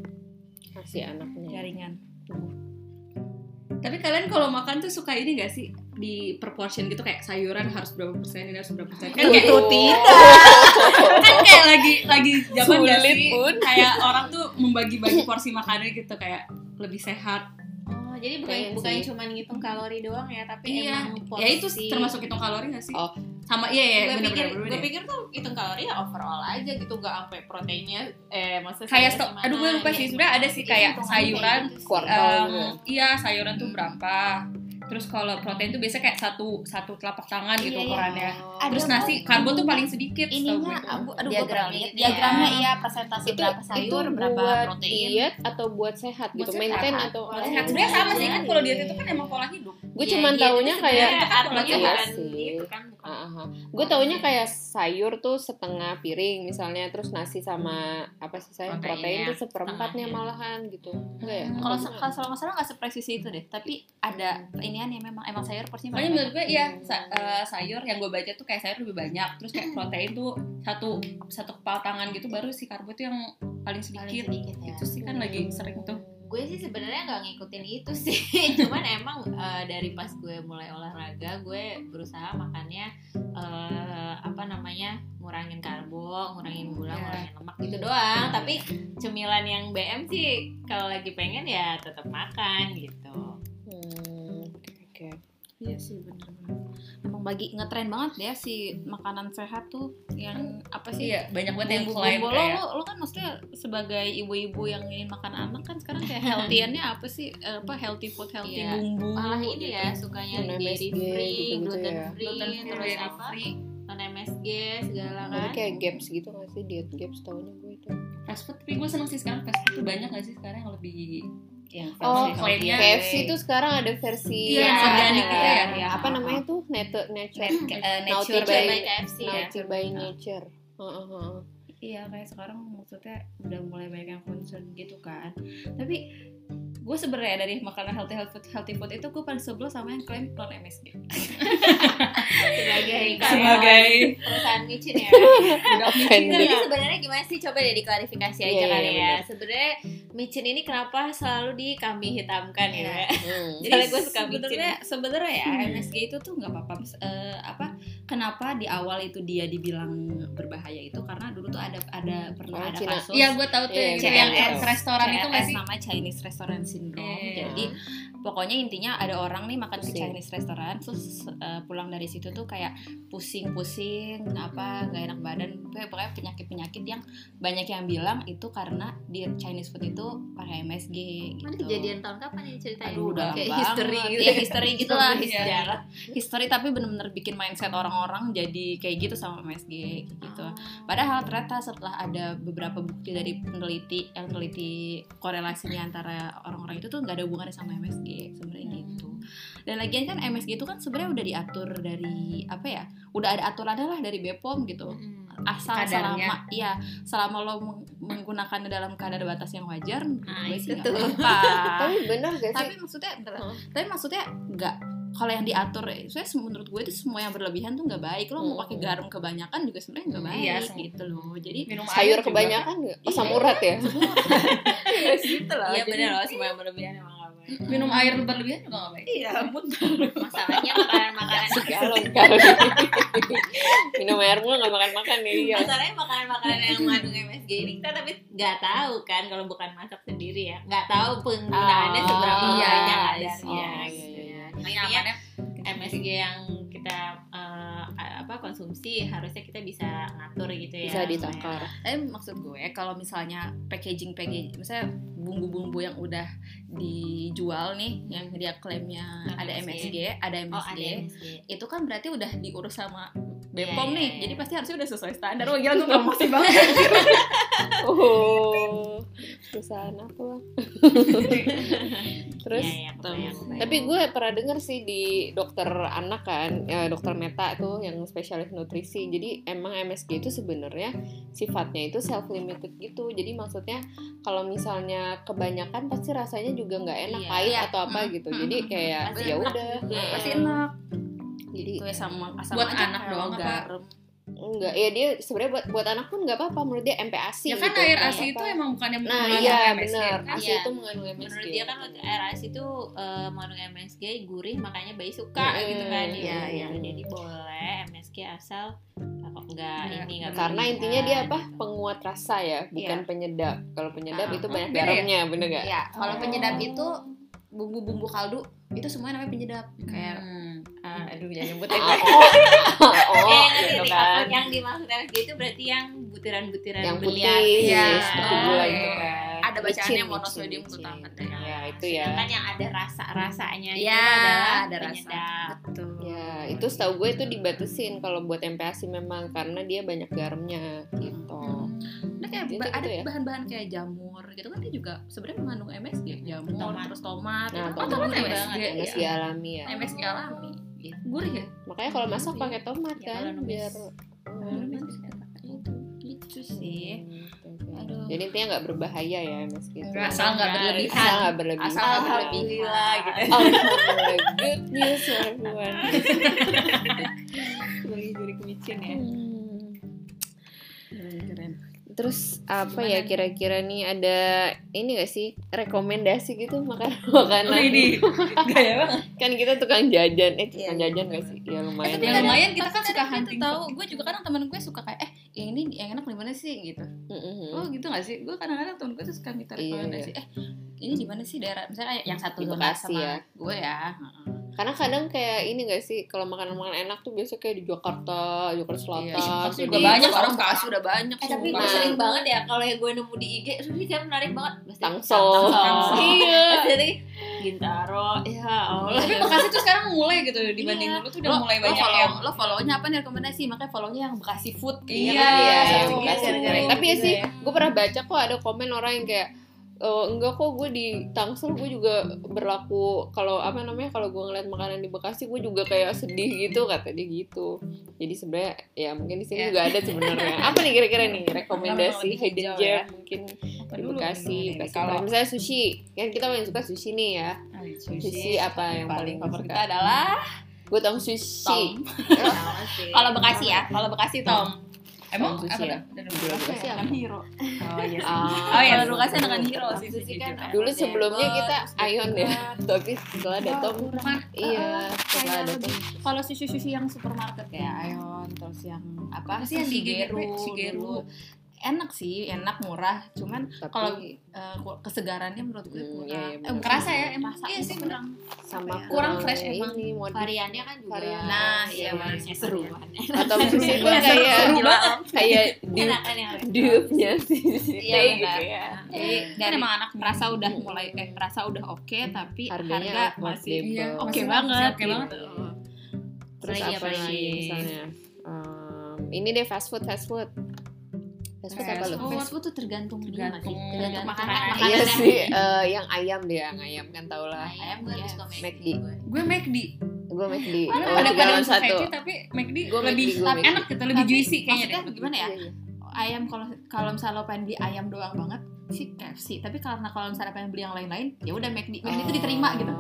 S2: kasih anaknya.
S4: jaringan
S1: tapi kalian kalau makan tuh suka ini gak sih di proportion gitu kayak sayuran harus berapa persen ini harus berapa persen kan kayak kan kayak lagi lagi zaman gak
S2: Sulit,
S1: sih
S2: Bun.
S1: kayak orang tuh membagi-bagi porsi makanannya gitu kayak lebih sehat
S5: oh jadi bukan
S2: Pengen
S5: bukan
S2: sih.
S5: cuma ngitung kalori doang ya tapi
S1: Iya.
S5: emang
S1: ya itu
S5: porsi.
S1: termasuk hitung kalori gak sih
S2: Oh.
S1: sama iya iya
S5: gue pikir
S1: bener-bener bener
S5: gue
S1: ya.
S5: pikir tuh hitung kalori ya overall aja gitu gak sampai proteinnya eh maksudnya
S1: kayak
S5: sayurnya
S1: stok
S5: mana,
S1: aduh gue lupa sih
S5: gitu.
S1: sebenarnya ada sih
S5: Iya,
S1: kayak
S5: hitungannya kayak
S1: sayuran
S5: gitu sih.
S2: Kuartal
S1: em, iya sayuran tuh berapa terus kalau protein tuh biasanya kayak satu satu telapak tangan gitu
S5: Iya, iya.
S1: ukurannya
S5: Ada
S1: terus
S5: kok
S1: nasi karbo tuh paling sedikit setahu gue
S5: ininya
S1: tuh.
S5: aku aduh
S4: Diagramnya
S5: gue
S4: gitu ya.
S5: diagramnya iya persentase
S2: itu
S5: berapa sayur
S2: itu
S5: berapa
S2: buat
S5: protein
S2: diet atau buat sehat
S1: Buat
S2: gitu
S1: sehat.
S2: maintain atau
S5: Buat
S1: Sehat. sebenarnya sama sih kan kalau diet itu kan emang pola hidup
S2: gue
S5: Iya,
S2: cuman
S5: diet
S2: taunya
S5: itu
S2: kayak
S5: sebenarnya
S1: kayak-
S5: artinya
S2: Iya
S5: bukan
S2: sih.
S5: gitu kan, bukan
S2: gue taunya kayak sayur tuh setengah piring misalnya terus nasi sama apa sih saya protein
S5: Proteinnya
S2: tuh seperempatnya
S5: setengahnya.
S2: malahan gitu enggak ya
S4: kalau
S1: Hmm.
S2: Apa-
S4: se- kalau kalau nggak salah nggak sepresisi itu deh tapi ada inian yang memang emang sayur porsinya
S1: Pokoknya
S4: paling
S1: menurut gue iya
S5: Hmm.
S1: sa- eh, sayur yang gue baca tuh kayak sayur lebih banyak terus kayak protein tuh satu satu kepala tangan gitu baru si karbo tuh yang paling sedikit,
S5: paling sedikit ya
S1: itu sih kan lagi sering tuh
S5: gue sih sebenarnya nggak ngikutin itu sih cuman emang eh, dari pas gue mulai olahraga gue berusaha makannya eh, apa namanya ngurangin karbo ngurangin gula
S1: Ya.
S5: ngurangin lemak gitu doang tapi cemilan yang BM sih kalau lagi pengen ya tetap makan gitu
S2: Hmm, oke, oke.
S4: Iya sih bener-bener Emang bagi ngetren banget ya si makanan sehat tuh yang apa sih?
S1: iya banyak banget yang
S4: Bumbu-
S1: klaim
S4: bumbu lo,
S1: kayak
S4: lo, lo kan maksudnya sebagai ibu-ibu yang ingin makan anak kan sekarang kayak healthy-annya apa sih? Eh, Apa healthy food, healthy
S5: Iya.
S4: bumbu. gitu.
S5: malah ini ya sukanya
S2: Non-MSG
S5: dairy free
S2: gitu-gitu
S5: gitu, gluten
S2: ya.
S5: free
S1: gluten free,
S5: terus
S1: dairy
S5: apa
S1: free,
S4: Iya.
S5: non MSG segala
S2: Jadi
S5: kan
S2: kayak gaps gitu gak sih diet gaps tahunnya gue itu.
S1: fast food tapi gue seneng sih sekarang fast food tuh banyak gak sih sekarang yang lebih yang fast
S2: Oh,
S1: food klaimnya
S4: Iya,
S2: KFC tuh sekarang ada versi
S1: Iya,
S2: yang
S1: organik
S2: sehat.
S1: gitu ya.
S2: Iya, Apa namanya tuh? Nature
S4: Iya.
S2: nature
S1: Net- eh,
S2: Nature
S1: nature
S2: by-
S1: by-
S5: KFC ya
S2: nature by nature. Heeh, heeh.
S4: Iya kayak sekarang maksudnya udah mulai banyak yang concern gitu kan. Tapi gue sebenarnya dari makanan healthy healthy food, healthy food itu gue paling sebel sama yang klaim non MSG.
S5: sebagai
S1: sebagai
S5: perusahaan micin ya
S2: Offended.
S5: Jadi sebenarnya gimana sih coba deh diklarifikasi aja
S2: Iya, iya,
S5: kali ya.
S2: benar.
S5: Sebenarnya micin ini kenapa selalu di kami hitamkan ya?
S2: Hmm.
S5: Soalnya gue suka
S4: Hmm.
S5: micin.
S4: sebenarnya sebenarnya ya MSG itu tuh nggak apa-apa Mis- eh, apa kenapa di awal itu dia dibilang berbahaya itu karena dulu tuh ada ada pernah
S2: Oh,
S4: ada
S2: Cina.
S4: kasus
S1: Iya, gue tahu tuh
S2: Iya,
S1: yang
S2: iya,
S1: yang
S2: iya,
S1: ads restoran itu nggak
S4: CRS
S1: sih?
S4: nama Chinese Restaurant Syndrome.
S1: Iya.
S4: Jadi pokoknya intinya ada orang nih makan ke
S2: Pusing.
S4: Chinese restoran terus eh, pulang dari situ tuh kayak pusing-pusing, apa nggak enak badan, Pokoknya- pokoknya penyakit-penyakit yang banyak yang bilang itu karena di Chinese food itu pakai MSG gitu.
S5: Mana Oh, kejadian tahun kapan ini ceritain?
S4: Aduh, udah
S5: Kayak
S4: lama
S5: history
S4: banget.
S5: gitu.
S4: Iya, history gitu lah,
S1: Iya.
S4: sejarah. History tapi bener-bener bikin mindset orang-orang jadi kayak gitu sama MSG kayak gitu. Padahal ternyata setelah ada beberapa bukti dari peneliti yang meneliti korelasinya antara orang-orang itu tuh nggak ada hubungannya sama MSG sebenarnya
S5: Hmm.
S4: gitu. Dan lagian kan MSG itu kan sebenarnya udah diatur dari apa ya? Udah ada aturannya lah dari BPOM gitu.
S5: Hmm.
S4: Asal
S1: Kadarnya.
S4: selama iya, selama lo meng- menggunakannya dalam kadar batas yang wajar,
S5: Nah,
S4: gue sih
S5: itu
S4: nggak
S5: tuh.
S4: apa-apa
S2: Tapi benar gak sih?
S4: tapi maksudnya bentar, tapi maksudnya nggak kalau yang diatur saya menurut gue itu semua yang berlebihan tuh nggak baik lo mau
S2: Hmm.
S4: pakai garam kebanyakan juga sebenarnya nggak
S1: Hmm,
S4: baik
S1: iya, sih.
S4: gitu loh jadi
S1: Minum air
S2: Sayur
S1: juga.
S2: kebanyakan nggak? Asam urat ya?
S4: gitu
S5: loh,
S4: iya
S5: jadi-
S4: bener loh semua yang berlebihan emang nggak baik
S1: Minum air berlebihan juga nggak baik.
S4: iya
S5: Masalahnya makanan-makanan
S2: Galon kali. Minum air mulu gak makan-makan nih. Iya.
S5: Masalahnya makanan-makanan yang mengandung MSG ini kita tapi nggak tahu kan kalau bukan masak sendiri ya. Nggak tahu penggunaannya
S2: Oh,
S5: seberapa
S1: iya,
S5: banyak
S2: iya,
S5: kadarnya.
S2: iya,
S5: gitu
S2: iya.
S5: ya.
S1: Makanya
S5: Intinya
S1: amannya
S5: MSG yang kita eh, apa konsumsi harusnya kita bisa ngatur gitu ya.
S2: Bisa ditakar.
S4: tapi maksud gue kalau misalnya packaging packaging misalnya bumbu-bumbu yang udah dijual nih yang dia klaimnya
S5: Ada
S4: ada
S5: MSG.
S4: MSG ada MSG,
S5: Oh ada MSG.
S4: itu kan berarti udah diurus sama
S5: Iya,
S4: Bepom
S5: iya,
S4: nih,
S5: iya.
S4: jadi pasti harusnya udah sesuai standar. Wah gila gue promosi banget.
S2: Oh, perusahaan apa? Bang? Terus
S5: Iya, iya, kebayang, kebayang.
S2: Tapi gue pernah denger sih di dokter anak kan, ya, dokter Meta tuh yang spesialis nutrisi. Jadi emang MSG itu sebenarnya sifatnya itu self limited gitu. Jadi maksudnya kalau misalnya kebanyakan pasti rasanya juga nggak enak
S5: Iya.
S2: pahit
S4: Iya.
S2: atau apa
S4: Mm,
S2: gitu.
S4: mm,
S2: Jadi
S4: mm, mm.
S2: kayak
S4: Pasti
S2: ya
S4: enak
S2: udah.
S4: Pasti
S1: Iya.
S4: enak.
S2: Jadi
S4: Itu ya sama asam
S1: Buat
S4: aja
S1: anak
S4: kalau
S1: doang apa?
S4: garam.
S2: enggak ya dia sebenarnya buat buat anak pun nggak apa-apa menurut dia MPASI
S1: Ya kan
S2: gitu,
S1: air
S2: nggak
S1: ASI itu
S2: apa-apa.
S1: emang bukan yang
S2: Nah,
S1: mengandung
S2: iya
S1: MSG,
S2: benar.
S1: kan?
S2: ASI
S5: Iya.
S2: itu mengandung MSG.
S5: Menurut dia kan waktu RAS itu eh, mengandung MSG gurih makanya bayi suka
S2: Mm,
S5: gitu kan dia.
S2: iya, iya.
S5: Jadi boleh MSG asal kok enggak
S1: Iya.
S5: ini kan. enggak
S2: Karena intinya dia apa? Penguat rasa ya, bukan penyedap. Kalau penyedap
S4: Ah,
S2: itu banyak
S1: beda ya?
S2: garamnya, bener
S5: Iya,
S2: gak?
S4: Ya, kalau
S2: Oh.
S4: penyedap itu bumbu-bumbu kaldu itu semuanya namanya penyedap. Kayak
S1: Hmm.
S4: ah, aduh jangan nyebut
S2: Ah, oh, oh,
S5: eh,
S2: gitu
S5: ngerti nih,
S2: kan.
S5: yang dimaksud MSG itu berarti yang butiran-butiran
S2: Yang putih,
S5: berlian.
S2: ya,
S1: Iya.
S2: seperti
S1: Oh,
S2: gula
S1: iya.
S2: itu kan.
S4: Ada bacaannya
S2: Licin,
S4: monosodium
S2: licin,
S4: glutamat
S2: licin.
S4: ya.
S2: Ya, itu ya.
S5: Nah, Sedangkan yang ada rasa-rasanya itu
S4: Ya,
S5: adalah
S4: ada rasa.
S5: penyedap.
S4: Betul.
S2: Ya, itu setahu gue itu dibatasin kalau buat MPASI memang karena dia banyak garamnya gitu.
S4: Nah, kayak
S2: Jadi
S4: ba-
S2: gitu
S4: ada
S2: ya?
S4: bahan-bahan kayak jamur gitu kan dia juga sebenarnya mengandung MSG, jamur,
S5: Tomat.
S4: terus tomat.
S2: Nah,
S4: gitu.
S5: Oh,
S2: tomat
S1: juga
S4: MSG.
S5: Iya.
S1: banget.
S2: MSG alami ya.
S4: ya. MSG alami.
S1: Iya,
S4: Gitu. Gurih ya?
S2: Makanya kalau masak pakai tomat
S5: Ya, kalau
S2: kan
S5: numis.
S2: biar gitu.
S4: Itu lucu sih. Aduh.
S2: Jadi intinya nggak berbahaya ya MSG itu.
S1: Enggak, asal nggak berlebihan.
S2: Asal nggak berlebihan.
S4: Asal nggak berlebihan.
S5: Alhamdulillah gitu.
S2: Alhamdulillah, good news for everyone.
S5: Bagi diri kemicin ya.
S2: Hmm.
S4: Keren.
S2: Terus apa ya kira-kira nih ada ini gak sih rekomendasi gitu makanan-makanan?
S1: Ini ini. gaya banget.
S2: Kan kita tukang jajan, eh tukang jajan gak sih? Ya
S4: Eh,
S2: lumayan.
S1: tapi
S2: lah.
S1: Ya, kadang- lumayan, kita kan
S4: Pasti
S1: suka
S4: ada yang
S1: hunting.
S4: tahu gue juga kadang temen gue suka kayak eh yang ini yang enak di mana sih gitu
S2: Mm-mm.
S4: oh gitu gak sih gue kadang-kadang temen gue tuh suka minta
S2: Hmm. Iya,
S4: rekomendasi eh ini di mana sih daerah misalnya yang satu
S2: Di
S4: zona
S2: Bekasi
S4: sama
S2: ya.
S4: gue ya heeh.
S2: Karena kadang kayak ini gak sih kalau makanan-makanan enak tuh biasanya kayak di Jakarta, Jakarta
S4: Iya.
S2: Selatan.
S1: Bekasi juga
S2: jadi-
S1: banyak
S4: orang Bekasi udah banyak
S5: Eh, tapi
S2: Sumpah.
S5: gue sering banget ya kalau yang gue nemu di IG, aduh, ini kayak menarik banget. Pasti
S2: Tangsel.
S5: Tangsel.
S2: Iya.
S5: Terus dia lagi, Gintaro, ya Allah.
S1: Tapi Bekasi tuh sekarang mulai gitu dibanding dulu tuh udah mulai banyak ya.
S4: follow,
S1: yang
S4: lo follow-nya apa nih rekomendasi makanya follow-nya yang Bekasi food
S1: Iya,
S4: kan?
S1: Iya,
S2: Iya, yang
S1: iya,
S2: Bekasi
S1: gara-gara
S2: goreng.
S1: itu
S2: Tapi ya
S1: juga
S2: sih,
S1: ya.
S2: gue pernah baca kok ada komen orang yang kayak "Eh, enggak kok gue di Tangsel gue juga berlaku kalau apa namanya kalau gue ngeliat makanan di Bekasi gue juga kayak sedih gitu kata dia gitu jadi sebenarnya ya mungkin di sini
S1: Iya.
S2: juga ada sebenarnya apa nih kira-kira nih rekomendasi
S1: Lebih
S2: hidden
S1: hijau
S2: gem
S1: ya.
S2: mungkin
S1: Apa
S2: di
S1: dulu? Gimana nih?
S2: Bekasi, Bekasi
S1: Kalau
S2: Barat. misalnya sushi kan kita paling suka sushi nih ya sushi apa yang paling
S4: favorit
S2: suka?
S4: kita adalah
S2: gue tau sushi
S4: Tom. Kalau Bekasi ya, kalau
S1: Hmm.
S4: Bekasi Tom.
S1: Emang
S2: Sushi
S1: apa
S2: ya?
S1: dah? Dari
S2: Dulu
S1: Bekasi.
S2: Bekasi apa?
S4: Hero. Oh iya.
S2: Ah, kalau
S4: Oh iya, kalau
S5: kan
S4: Bekasi enakan Hero sih.
S3: Sushi kan
S4: gitu.
S2: dulu sebelumnya kita Ion ya tapi setelah ada Tom
S4: kurang.
S2: iya setelah
S4: kayak
S2: ada Tom
S4: lebih- Kalau sushi-sushi yang supermarket ya, ayo Starbucks yang apa?
S1: Apa sih yang di
S4: Shigeru,
S1: GGP? Shigeru.
S4: dulu. Enak sih, enak murah. Cuman
S2: Tapi
S4: kalau eh, ku- kesegarannya menurut gue
S2: Hmm,
S4: kurang.
S2: iya, iya,
S4: eh,
S2: benar.
S1: kerasa ya emang
S4: Masa
S1: iya sih
S4: itu
S1: benar
S2: sama
S1: Kurang
S2: ke
S1: fresh emang.
S2: ini modif
S5: variannya kan juga
S2: Varian.
S4: Nah, iya
S5: variannya
S4: manisnya
S5: seru
S4: seru.
S2: atau mungkin pun
S5: Iya, seru-
S2: kayak
S5: seru banget.
S2: kayak dupe
S5: enak kan yang
S2: dupe-nya sih
S5: Iya,
S2: Teh
S5: benar.
S2: gitu ya
S4: Jadi dan emang anak merasa udah mulai eh merasa udah oke tapi
S2: harganya
S4: harga
S2: affordable.
S4: masih
S1: Iya,
S4: oke
S1: masih
S4: banget.
S1: oke banget.
S4: gitu.
S2: terus
S5: Apalagi,
S2: apa lagi
S5: apalagi?
S2: misalnya Em, ini deh fast food fast food fast food apa
S1: Fast
S2: lu
S1: food.
S5: fast food tuh tergantung dia
S1: Tergantung-
S5: masih.
S1: tergantung
S5: makanan
S4: makanan.
S2: iya
S5: makanan
S4: Makanannya.
S2: sih eh, yang ayam dia yang ayam kan tau lah
S5: ayam gue
S4: Iya.
S5: lebih suka
S2: McD.
S5: McD gue.
S1: gue McD
S2: gue McD
S1: Mana
S2: oh,
S1: pada
S2: tiga
S1: pada
S2: lawan
S1: suka
S2: satu
S1: veggie, tapi McD
S2: Gua
S1: lebih
S2: McD, gua
S1: tapi
S2: McD.
S1: enak gitu lebih
S4: Tapi
S1: juicy kayaknya
S4: maksudnya gimana ya?
S2: Iya, iya.
S4: ayam kalau kalau misalnya lo pengen beli ayam doang banget sih KFC tapi karena kalau misalnya pengen beli yang lain-lain ya udah McD McD itu diterima gitu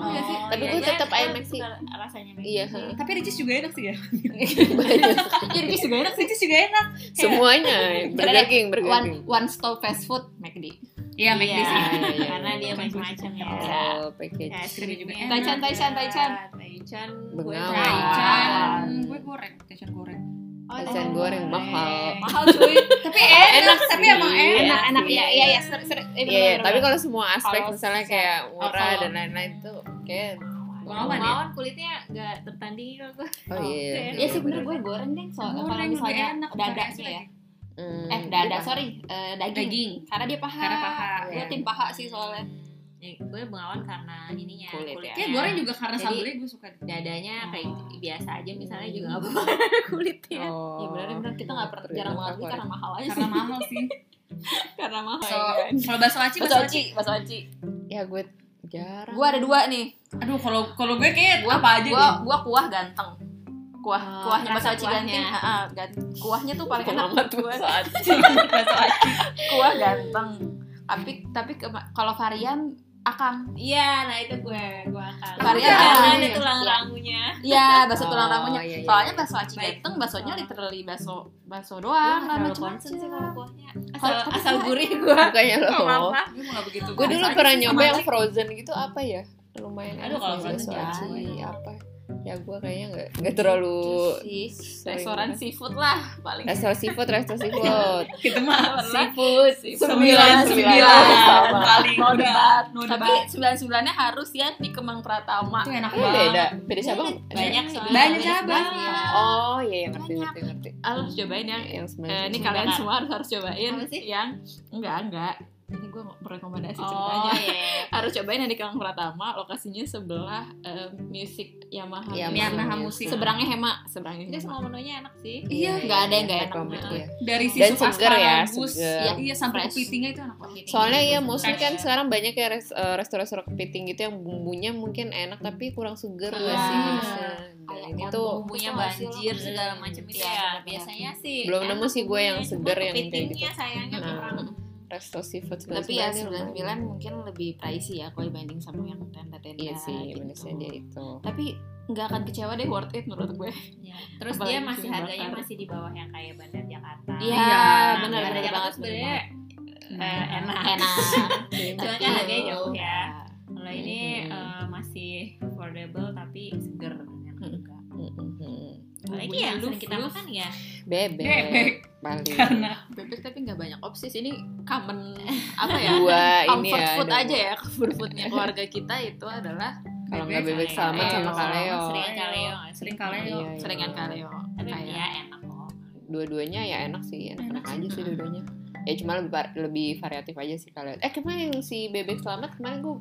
S2: Oh.
S1: sih?
S2: Tapi gue tetap ayam McD.
S5: Rasanya McD.
S2: iya
S1: deh. tapi Ricis juga enak sih ya
S2: banyak.
S1: Iya Ricis juga enak Ricis juga enak
S2: semuanya Burger King Burger King
S4: one one stop fast food McD
S1: iya McD
S5: Iya,
S1: sih
S2: Iya,
S5: karena
S2: iya.
S5: dia macam-macam ya.
S2: oh package
S5: Ya,
S1: Krim juga
S5: enak.
S4: Taichan, Taichan, Taichan.
S5: Taichan,
S2: Bengawan.
S4: Nah.
S1: Taichan Nah, gue goreng Taichan goreng
S2: Taichan goreng, mahal.
S5: Mahal cuy.
S1: tapi enak tapi emang enak
S5: Enak, enak ya, iya ya, seru, seru. Eh,
S2: Iya,
S5: bener,
S2: iya.
S5: bener,
S2: tapi
S5: bener.
S2: kalau semua aspek
S5: Kalau
S2: misalnya kayak murah
S5: kalau-
S2: dan lain-lain tuh kayak
S1: Bengawan ya?
S5: iya. Bengawan kulitnya gak tertandingi kalau gue.
S2: oh iya
S5: Iya,
S4: ya sih bener gue goreng deh so,
S1: Goreng
S4: kalau
S1: lebih
S4: misalnya
S1: enak,
S4: dadanya
S1: pakai
S4: ya
S2: Hmm,
S4: eh dada sorry eh, daging.
S1: daging
S4: karena dia paha
S1: karena paha iya.
S4: gue tim paha sih soalnya
S5: Ya, gue bengawan karena ininya
S2: Kulit ya.
S5: kulitnya.
S1: kayak Iya, goreng juga karena
S5: Jadi-
S1: sambelnya gue suka deh.
S5: dadanya kayak biasa aja misalnya juga gak apa-apa kulitnya.
S2: oh.
S4: ya bener bener kita nggak pernah jarang banget beli karena mahal aja
S1: karena
S4: sih
S1: mahal sih
S4: karena mahal
S1: so kalau bakso aci
S4: Bakso
S1: Oh, iya. bakso aci
S4: oci, bakso oci.
S2: ya gue jarang
S4: Gue ada dua nih.
S1: aduh kalau kalau gue kayak
S4: Gua
S1: apa aja
S4: gua,
S1: deh
S4: gua kuah ganteng. Kuah
S2: Oh,
S4: Ah, kuahnya
S5: rasa
S4: bakso oci
S5: kuahnya.
S4: ganteng. Heeh, gan- ah, kuahnya tuh paling enak
S2: Selamat
S4: menurut gua.
S2: saat
S1: bakso aci
S4: kuah ganteng tapi tapi kema- kalau varian akang
S5: Iya, nah itu gue, gue akan.
S4: Varian
S5: Karena ada
S4: iya.
S5: tulang
S4: Iya.
S5: rangunya.
S4: iya Ah. bakso tulang
S2: Oh,
S4: rangunya
S2: iya, iya.
S4: soalnya bakso aci
S5: Baik.
S4: ganteng baksonya literally bakso bakso
S5: Gue
S4: doang
S5: gak
S4: nama
S5: terlalu concern sih kalau kuahnya. Asal,
S4: Kalau-
S5: asal
S4: tapi-
S5: gurih gue.
S2: bukannya lo
S5: Gak
S4: Oh,
S5: apa-apa.
S1: gue mau nggak begitu
S2: gue dulu
S1: Bakso aci
S2: pernah
S1: sih
S2: nyoba
S1: sama
S2: yang
S1: aja.
S2: frozen gitu apa ya lumayan
S1: Aduh,
S2: enak
S1: kalau
S2: sih,
S1: frozen
S2: bakso
S4: jarang.
S2: aci, apa ya gue kayaknya nggak nggak terlalu
S4: sih
S2: sering
S4: restoran
S2: makan.
S4: seafood lah paling
S2: resto seafood resto seafood
S1: kita mah
S4: Eh, seafood
S1: sembilan sembilan
S2: Sama.
S1: paling udah
S4: tapi sembilan sembilannya harus yang di Kemang Pratama
S1: itu enak
S2: Emang
S1: banget
S2: beda beda cabang
S5: Banyak soalnya.
S1: Banyak cabang.
S2: oh iya yang ngerti ngerti ngerti
S4: Ah, harus cobain yang
S2: yang sembilan
S4: Eh, ini
S2: seafood.
S4: kalian
S5: Bakar.
S4: semua harus harus cobain
S5: Apa sih?
S4: yang enggak enggak. Ini gue rekomendasi
S5: Oh
S4: ceritanya.
S5: iya.
S4: Harus cobain yang di Kelang Pratama, lokasinya sebelah eh, Music Yamaha.
S2: Iya,
S1: Yamaha musik.
S2: musik.
S4: Seberangnya Hema, seberangnya.
S5: Itu semua menunya enak sih.
S1: Iya.
S4: Nggak ada yang nggak enak.
S2: rekomend, iya.
S1: dari
S2: Dan
S1: sisuk
S2: seger ya,
S1: asparagus
S2: seger.
S1: iya, iya sampai
S4: Fresh.
S1: kepitingnya itu enak banget
S2: Soalnya ya mostly kan
S5: Fresh.
S2: sekarang banyak ya res- eh, restoran-restoran kepiting gitu yang bumbunya mungkin enak tapi kurang seger gak
S4: Ah.
S2: sih? Nah,
S4: Kayak
S2: ini
S4: kotor
S2: tuh
S5: bumbunya
S4: Itu hasil
S5: banjir
S4: lo-
S5: segala macam
S4: Iya,
S5: itu ya
S4: benar-benar.
S5: biasanya sih
S2: Belum nemu
S5: enak
S2: sih gue yang
S5: bumbunya,
S2: seger
S5: cuma
S2: yang kayak gitu.
S5: kepitingnya sayangnya
S2: Nah.
S5: kurang
S2: resto seafood
S4: Tapi ya
S2: 99 lumayan.
S4: 99 mungkin lebih pricey ya kalau dibanding sama yang tenda-tenda.
S2: Iya sih,
S4: gitu.
S2: minusnya dia itu.
S4: Tapi nggak akan kecewa deh worth it menurut gue.
S5: Ya. terus
S4: Apalagi
S5: dia masih
S4: sih
S5: harganya
S4: bakar.
S5: masih di bawah yang kayak bandar Jakarta
S4: Iya,
S5: Nah,
S4: benar,
S5: bandar
S4: benar
S5: Jakarta
S4: banget,
S5: sebenarnya
S2: Nah.
S5: eh, enak
S4: Enak.
S2: Iya.
S5: Cuma
S4: Tapi- gitu.
S5: kan harganya jauh ya. kalau ini
S2: Mhm.
S5: eh, masih affordable tapi seger enak juga.
S2: Mm-mm.
S5: apalagi
S4: Bumbunya
S5: yang sering
S4: luf,
S5: kita
S4: luf.
S5: makan ya
S2: Bebek,
S1: Bebek.
S2: paling
S1: karena
S4: Bebek tapi nggak banyak opsi sih. Ini common apa ya?
S2: dua ini
S4: comfort
S2: ya.
S4: food
S2: dua.
S4: aja ya comfort foodnya keluarga kita itu adalah
S2: Kalau
S5: Iya,
S2: nggak
S1: Bebek,
S2: bebek selamat
S4: kaleo.
S2: sama kaleo.
S5: seringan kaleo
S1: sering
S2: Iya,
S1: kaleo
S2: iya.
S4: seringan kaleo
S5: tapi ya
S4: kayak
S5: enak kok
S2: dua-duanya ya enak sih enak, enak aja sih dua-duanya ya cuma lebih var- lebih variatif aja sih kalau eh kemarin yang si bebek selamat kemarin gue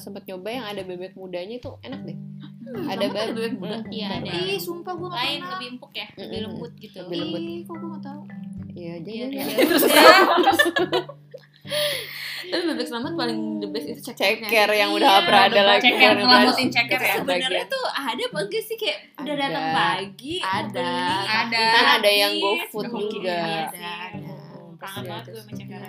S2: sempet nyoba yang ada bebek mudanya itu enak deh ada
S4: Selamat Hmm, ada
S2: ba-
S4: bebek muda?
S2: Mm,
S5: Iya,
S2: bentar,
S5: ada.
S2: Bang.
S5: Ih,
S4: sumpah gue
S5: lain lebih empuk ya lebih
S2: Mhm.
S5: lembut gitu
S2: Lebih lembut.
S4: kok gue gak tau
S2: iya
S5: Iya,
S2: jangan ya,
S5: iya.
S4: tapi bebek selamat paling the best itu cekernya
S2: ceker yang udah
S5: Iya,
S2: pernah ada
S5: lupa
S2: lagi
S1: ceker,
S2: yang
S1: ngelamutin
S2: udah-
S1: ceker ya.
S5: sebenarnya tuh ada apa enggak sih kayak udah
S2: Ada.
S5: datang pagi mau
S4: Ada.
S5: beli,
S1: Ada.
S5: habis.
S2: Kan ada yang GoFood
S1: Oke,
S2: juga.
S5: Iya sih.
S4: Ada, ada.
S5: kangen banget gue sama ceker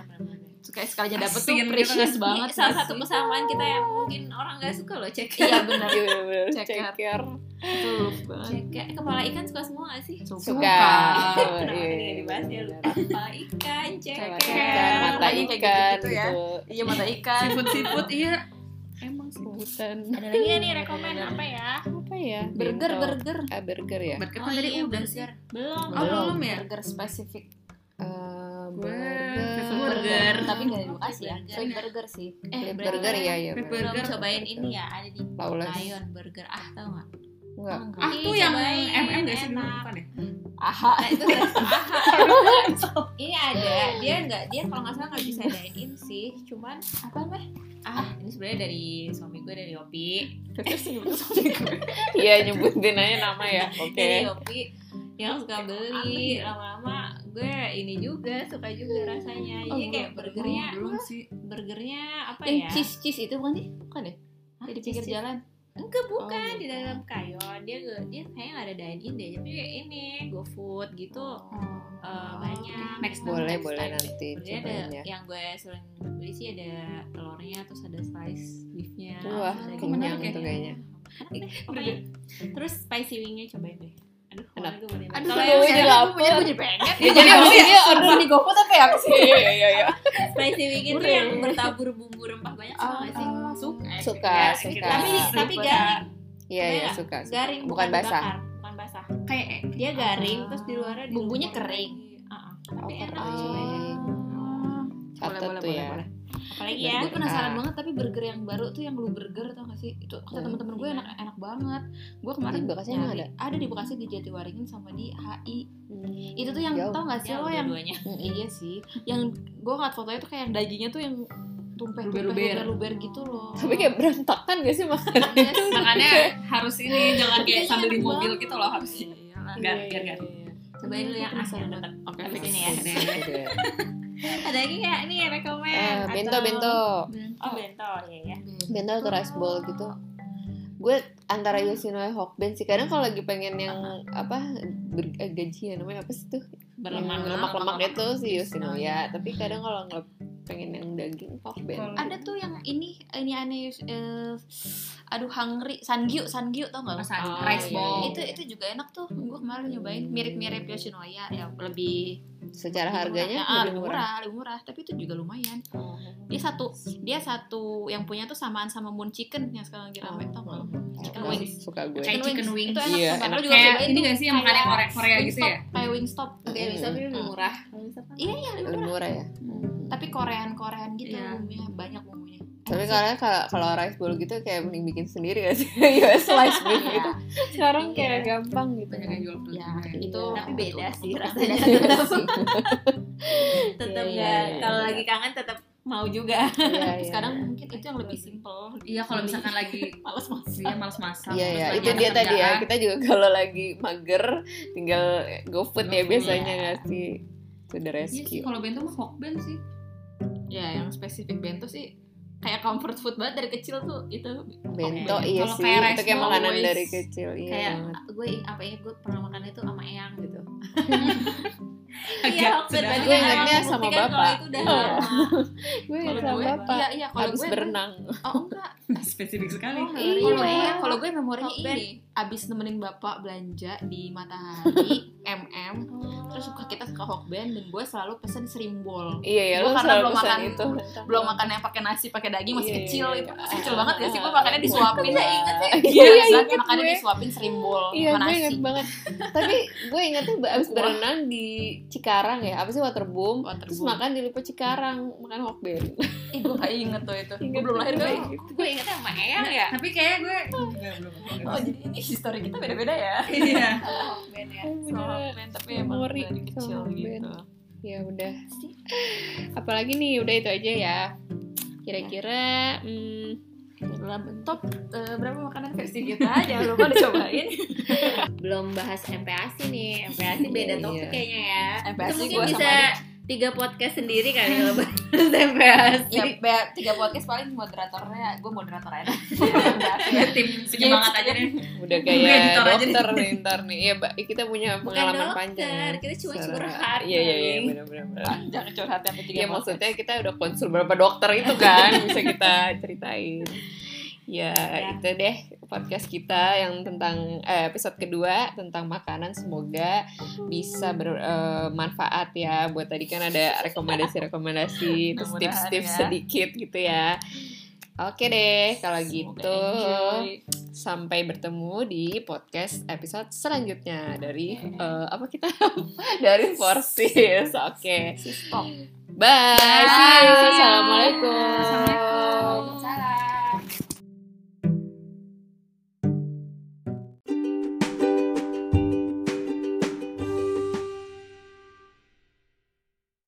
S4: kayak sekalinya dapet tuh
S1: Asin gitu
S4: precious
S1: kan.
S4: banget
S5: Ini Iya, salah
S4: gak
S5: satu
S4: sih?
S5: kesamaan kita yang mungkin orang gak suka loh ceker
S4: iya benar
S2: Iya, bener-bener.
S4: Ceker.
S2: ceker
S4: itu love banget
S5: ceker kepala ikan suka semua gak sih
S2: suka
S5: Kenapa
S2: Iya,
S5: tadi
S2: iya,
S5: gak dibahas ya
S2: bener.
S5: lupa kepala ikan
S2: Kepala
S5: ceker
S2: ikan, mata
S4: Kayak gitu-gitu
S2: ikan
S4: ya.
S2: gitu
S4: iya mata ikan
S1: siput siput iya
S2: emang sebutan
S5: ada lagi gak nih rekomen apa ya Oh,
S2: apa ya ya?
S4: Burger,
S2: Bento.
S4: burger.
S2: Ah, burger ya?
S1: Berkat kan tadi
S5: iya,
S1: udah sih.
S4: Belum.
S1: Oh, belum ya?
S4: Burger spesifik.
S2: Eh,
S1: Gue
S2: burger.
S1: prefer burger.
S4: Tapi nggak ada lokasi ya.
S5: Burger.
S4: So burger sih.
S5: Eh,
S2: Burger ya, ya.
S1: Beef
S5: Belum
S1: burger.
S5: cobain ini ya, ada di
S2: Lawless.
S5: Lion Burger. Ah, tau gak?
S2: Enggak.
S1: Ah
S5: Ih,
S1: tuh yang
S5: cobain,
S1: MM gak sih dulu
S5: enak.
S1: bukan ya?
S4: Aha.
S5: Nah, itu dari Ini ada, dia nggak dia kalau nggak salah nggak bisa dine sih, cuman
S4: Apa meh?
S5: ah ini sebenarnya dari suami gue dari Opi,
S2: Iya, nyebutin aja nama ya. Oke.
S5: dari Opi yang suka beli lama-lama gue ini juga suka juga
S2: Iya,
S5: rasanya jadi kayak burgernya
S1: Oh, belum sih.
S5: burgernya apa
S4: Eh,
S5: ya
S4: cheese cheese itu bukan sih? Bukan ya?
S5: Hah?
S4: Jadi pinggir
S5: Cheese-
S4: jalan.
S5: enggak bukan
S2: Oh,
S5: di dalam kayon dia nggak- dia kayaknya nggak ada dine in deh tapi ini GoFood gitu eh, banyak
S1: Next
S2: Oh. Boleh,
S5: Next
S2: boleh
S5: time.
S2: nanti
S5: Sebenarnya ada
S2: cobain ya.
S5: yang gue sering beli sih ada telurnya terus ada slice beefnya
S2: Wah,
S5: terus ada
S2: kenyang
S5: gimbalnya.
S2: tuh kayaknya.
S5: Pokoknya. terus spicy wingnya cobain deh aduh
S2: Kenapa?
S5: gue boleh
S4: Aduh,
S5: kalau
S2: Kalau
S5: yang
S2: yang jadi lapar.
S4: jadi pengen.
S2: Ya jadi harus ya order
S4: di GoFood apa ya?
S2: Iya, iya, iya.
S5: spicy wing itu yang bertabur bumbu rempah banyak suka nggak sih
S1: Suka. Ya,
S2: Ah, Suka, suka.
S5: gitu. tapi tapi garing
S2: Iya, iya,
S5: Enggak,
S2: suka. suka.
S5: garing
S2: Bukan basah.
S5: dibakar, bukan basah
S1: Kayak eh,
S5: dia garing terus di luarnya dilumuri.
S4: Bumbunya kering.
S5: Ah, ah.
S2: Oh,
S5: tapi enak
S2: kering.
S5: cobain.
S2: Catat tuh ya.
S5: apalagi ya
S2: Iya.
S4: Gue penasaran banget tapi burger yang baru tuh yang lu burger tau gak sih? Itu kata
S2: Hmm.
S4: teman-teman gue enak enak banget. Gue kemarin
S2: Di Bekasi emang
S4: nyari- Ada di Bekasi di Jatiwaringin sama di HI. Itu tuh yang
S2: Jauh.
S4: tau gak sih
S5: Jauh
S4: lo yang
S5: dua-duanya.
S4: iya sih. Yang gue ngeliat fotonya tuh kayak yang dagingnya tuh yang tumpeh tumpeh
S1: Luber-luber.
S4: luber luber gitu loh.
S2: Tapi kayak berantakan gak sih makan?
S1: makanya harus ini jangan
S2: Iya,
S1: kayak sambil di mobil gitu loh harus. Enggak, biar enggak.
S5: cobain lu yang asam tetap
S1: Oke,
S5: Habis
S1: fix.
S5: ini ya.
S2: Iya,
S5: ada lagi nggak nih rekomend
S2: Eh, bento,
S5: Atau-
S2: bento.
S5: oh bento ya ya
S2: Bento atau rice bowl gitu. Gue antara Yoshinoya Hokben sih. Kadang kalau lagi pengen yang apa ber- eh, gaji ya namanya apa sih tuh?
S5: berlemak
S2: Yang lemak-lemak itu si Yoshinoya. Tapi kadang kalau nggak pengen yang daging Hokben.
S4: Ada tuh yang ini ini aneh eh, aduh hungry sangyu sangyu tau gak? lo?
S1: Pesan
S2: Oh,
S1: rice
S2: iya,
S1: ball.
S2: iya.
S4: Itu itu juga enak tuh. Gue kemarin nyobain mirip-mirip Yoshinoya ya lebih
S2: Secara
S4: Lebih
S2: harganya
S4: murah. Ah, lebih murah, lebih murah, tapi itu juga lumayan.
S2: Oh.
S4: Dia satu, dia satu yang punya tuh samaan sama Moon Chicken yang sekarang lagi rame tau nggak lo? Chicken
S2: Apa
S4: wings.
S2: sih? Oh, Suka gue.
S1: Kayak chicken wings.
S4: Itu enak
S2: Iya,
S4: banget. Lo
S1: enak.
S4: juga
S1: Kayak
S4: cobain
S1: ini
S4: tuh,
S1: nggak sih yang
S4: kayak
S1: makanan Korea- Korea gitu
S4: Wingstop,
S1: ya?
S4: Kayak Wingstop.
S5: oke bisa tapi lebih murah
S4: Iya, iya, lebih
S2: Lebih
S4: murah.
S2: murah ya.
S4: Tapi Korean-Korean gitu
S1: Iya.
S4: bumbunya, banyak bumbunya.
S2: Tapi kalian kalau kalau rice bowl gitu kayak mending bikin sendiri gak sih? Kayak slice beef gitu. Sekarang kayak gampang gitu.
S1: Banyak yang jual produk.
S4: Ya,
S1: juga ya.
S4: itu
S5: tapi beda
S4: untuk-
S5: sih
S4: untuk-
S5: rasanya
S2: Iya
S5: tetap
S2: sih.
S5: tetap
S2: Iya,
S5: nggak
S2: iya,
S5: kalau
S2: iya.
S5: lagi kangen tetap mau juga
S2: Iya,
S4: Terus
S2: iya.
S4: Sekarang mungkin itu yang lebih simple.
S1: Iya, kalau misalkan lagi
S4: Males banget.
S1: dia malas masak.
S2: Iya
S1: terus
S2: ya,
S1: lagi
S2: itu
S1: ada
S2: dia tadi ya.
S1: kerjaan,
S2: Kita juga kalau lagi mager tinggal GoFood
S1: GoFood,
S2: ya biasanya nggak sih? Sudah
S1: Iya sih,
S2: rescue.
S1: kalau bento mah hokben sih.
S4: Ya, yang spesifik bento sih kayak comfort food banget dari kecil tuh itu
S2: Bento
S1: Oke.
S2: iya
S1: Kalau
S2: sih.
S1: kayak
S2: itu
S1: rice
S2: kayak
S1: bowl,
S2: makanan
S1: always
S2: dari kecil iya
S5: kayak
S2: banget.
S5: gue apa ya gue pernah makan itu sama eyang gitu Iya,
S1: Agak
S5: Alfred,
S1: sudah.
S5: berarti
S2: Gue
S5: kan
S2: ingatnya
S5: emang
S2: sama
S5: membuktikan
S2: bapak.
S5: kalau itu
S4: Iya.
S5: udah
S2: Oh.
S5: lama.
S2: Gue
S4: Kalau
S2: sama
S4: gue-
S2: bapak
S4: Iya, iya, kalau
S2: habis
S4: gue-
S2: berenang.
S4: oh enggak
S1: Spesifik sekali.
S4: Oh,
S2: Iya.
S4: kalau gue kalau gue memorinya
S5: Top
S4: ini abis nemenin bapak belanja di Matahari MM terus suka kita suka hokben dan gue selalu pesen srimbol
S2: Iya ya,
S4: Gue
S2: lu
S4: karena
S2: selalu
S4: belum
S2: pesan
S4: makan-
S2: itu.
S4: belum makan yang pakai nasi pakai daging masih
S2: Iya,
S4: kecil
S2: iya,
S4: itu
S2: iya.
S4: masih kecil banget gak sih gue makannya disuapin
S2: Bisa inget sih.
S4: Iya,
S2: Iya,
S4: iya,
S2: inget
S4: makannya
S2: gue.
S4: disuapin srimbol
S2: Iya,
S4: sama
S2: gue
S4: nasi
S2: inget banget. Tapi gue ingetnya abis
S4: Wah.
S2: berenang di Cikarang ya, apa sih waterboom?
S4: Waterboom.
S2: Terus makan di Lipo Cikarang, makan hokben.
S4: Ih, gue gak inget tuh itu gue
S2: Ingat Iya.
S4: belum lahir kan?
S2: gue.
S4: kali
S5: gue ingetnya sama
S4: Iya,
S5: eyang ya
S1: Tapi kayak gue Enggak, belum.
S4: oh jadi ini history kita beda beda ya
S1: Iya.
S5: Ben ya.
S4: Soal hokben, tapi emang
S2: Iya, Memori
S4: dari kecil
S2: sama hokben.
S4: gitu
S2: Ya udah. Apalagi nih, udah itu aja ya. Kira-kira hmm,
S4: dalam top eh, berapa makanan versi kita jangan lupa dicobain
S5: belum bahas MPAC nih MPAC beda
S2: Iya.
S5: topik kayaknya ya
S4: MPAC
S5: itu mungkin
S4: gua sama
S5: bisa
S4: Adit.
S5: tiga podcast sendiri kali kalau bahas MPAC
S4: ya
S2: Iya,
S4: be- tiga podcast paling moderatornya gue moderator aja
S1: Gue tim
S2: Iya,
S1: penyemangat aja deh.
S2: udah
S1: Udah,
S2: kayak
S1: editor aja
S2: dokter nih ntar nih. Iya, Mbak, kita punya
S5: bukan
S2: pengalaman
S5: dokter
S2: panjang.
S5: kita cuma
S2: Secara-
S5: curhat
S2: Iya, iya, iya,
S5: paling.
S2: benar-benar.
S4: jangan curhat yang ketiga
S2: Iya maksudnya kita udah konsul berapa dokter itu kan bisa kita ceritain. Ya, itu deh podcast kita yang tentang eh, episode kedua tentang makanan semoga bisa bermanfaat ya buat tadi kan ada rekomendasi-rekomendasi terus
S4: Mudah-mudahan
S2: tips-tips
S4: ya.
S2: sedikit gitu ya. Oke deh, kalau gitu
S1: enjoy.
S2: sampai bertemu di podcast episode selanjutnya dari eh, apa kita Eh, dari Forces. Oke. Bye. See you. Assalamualaikum.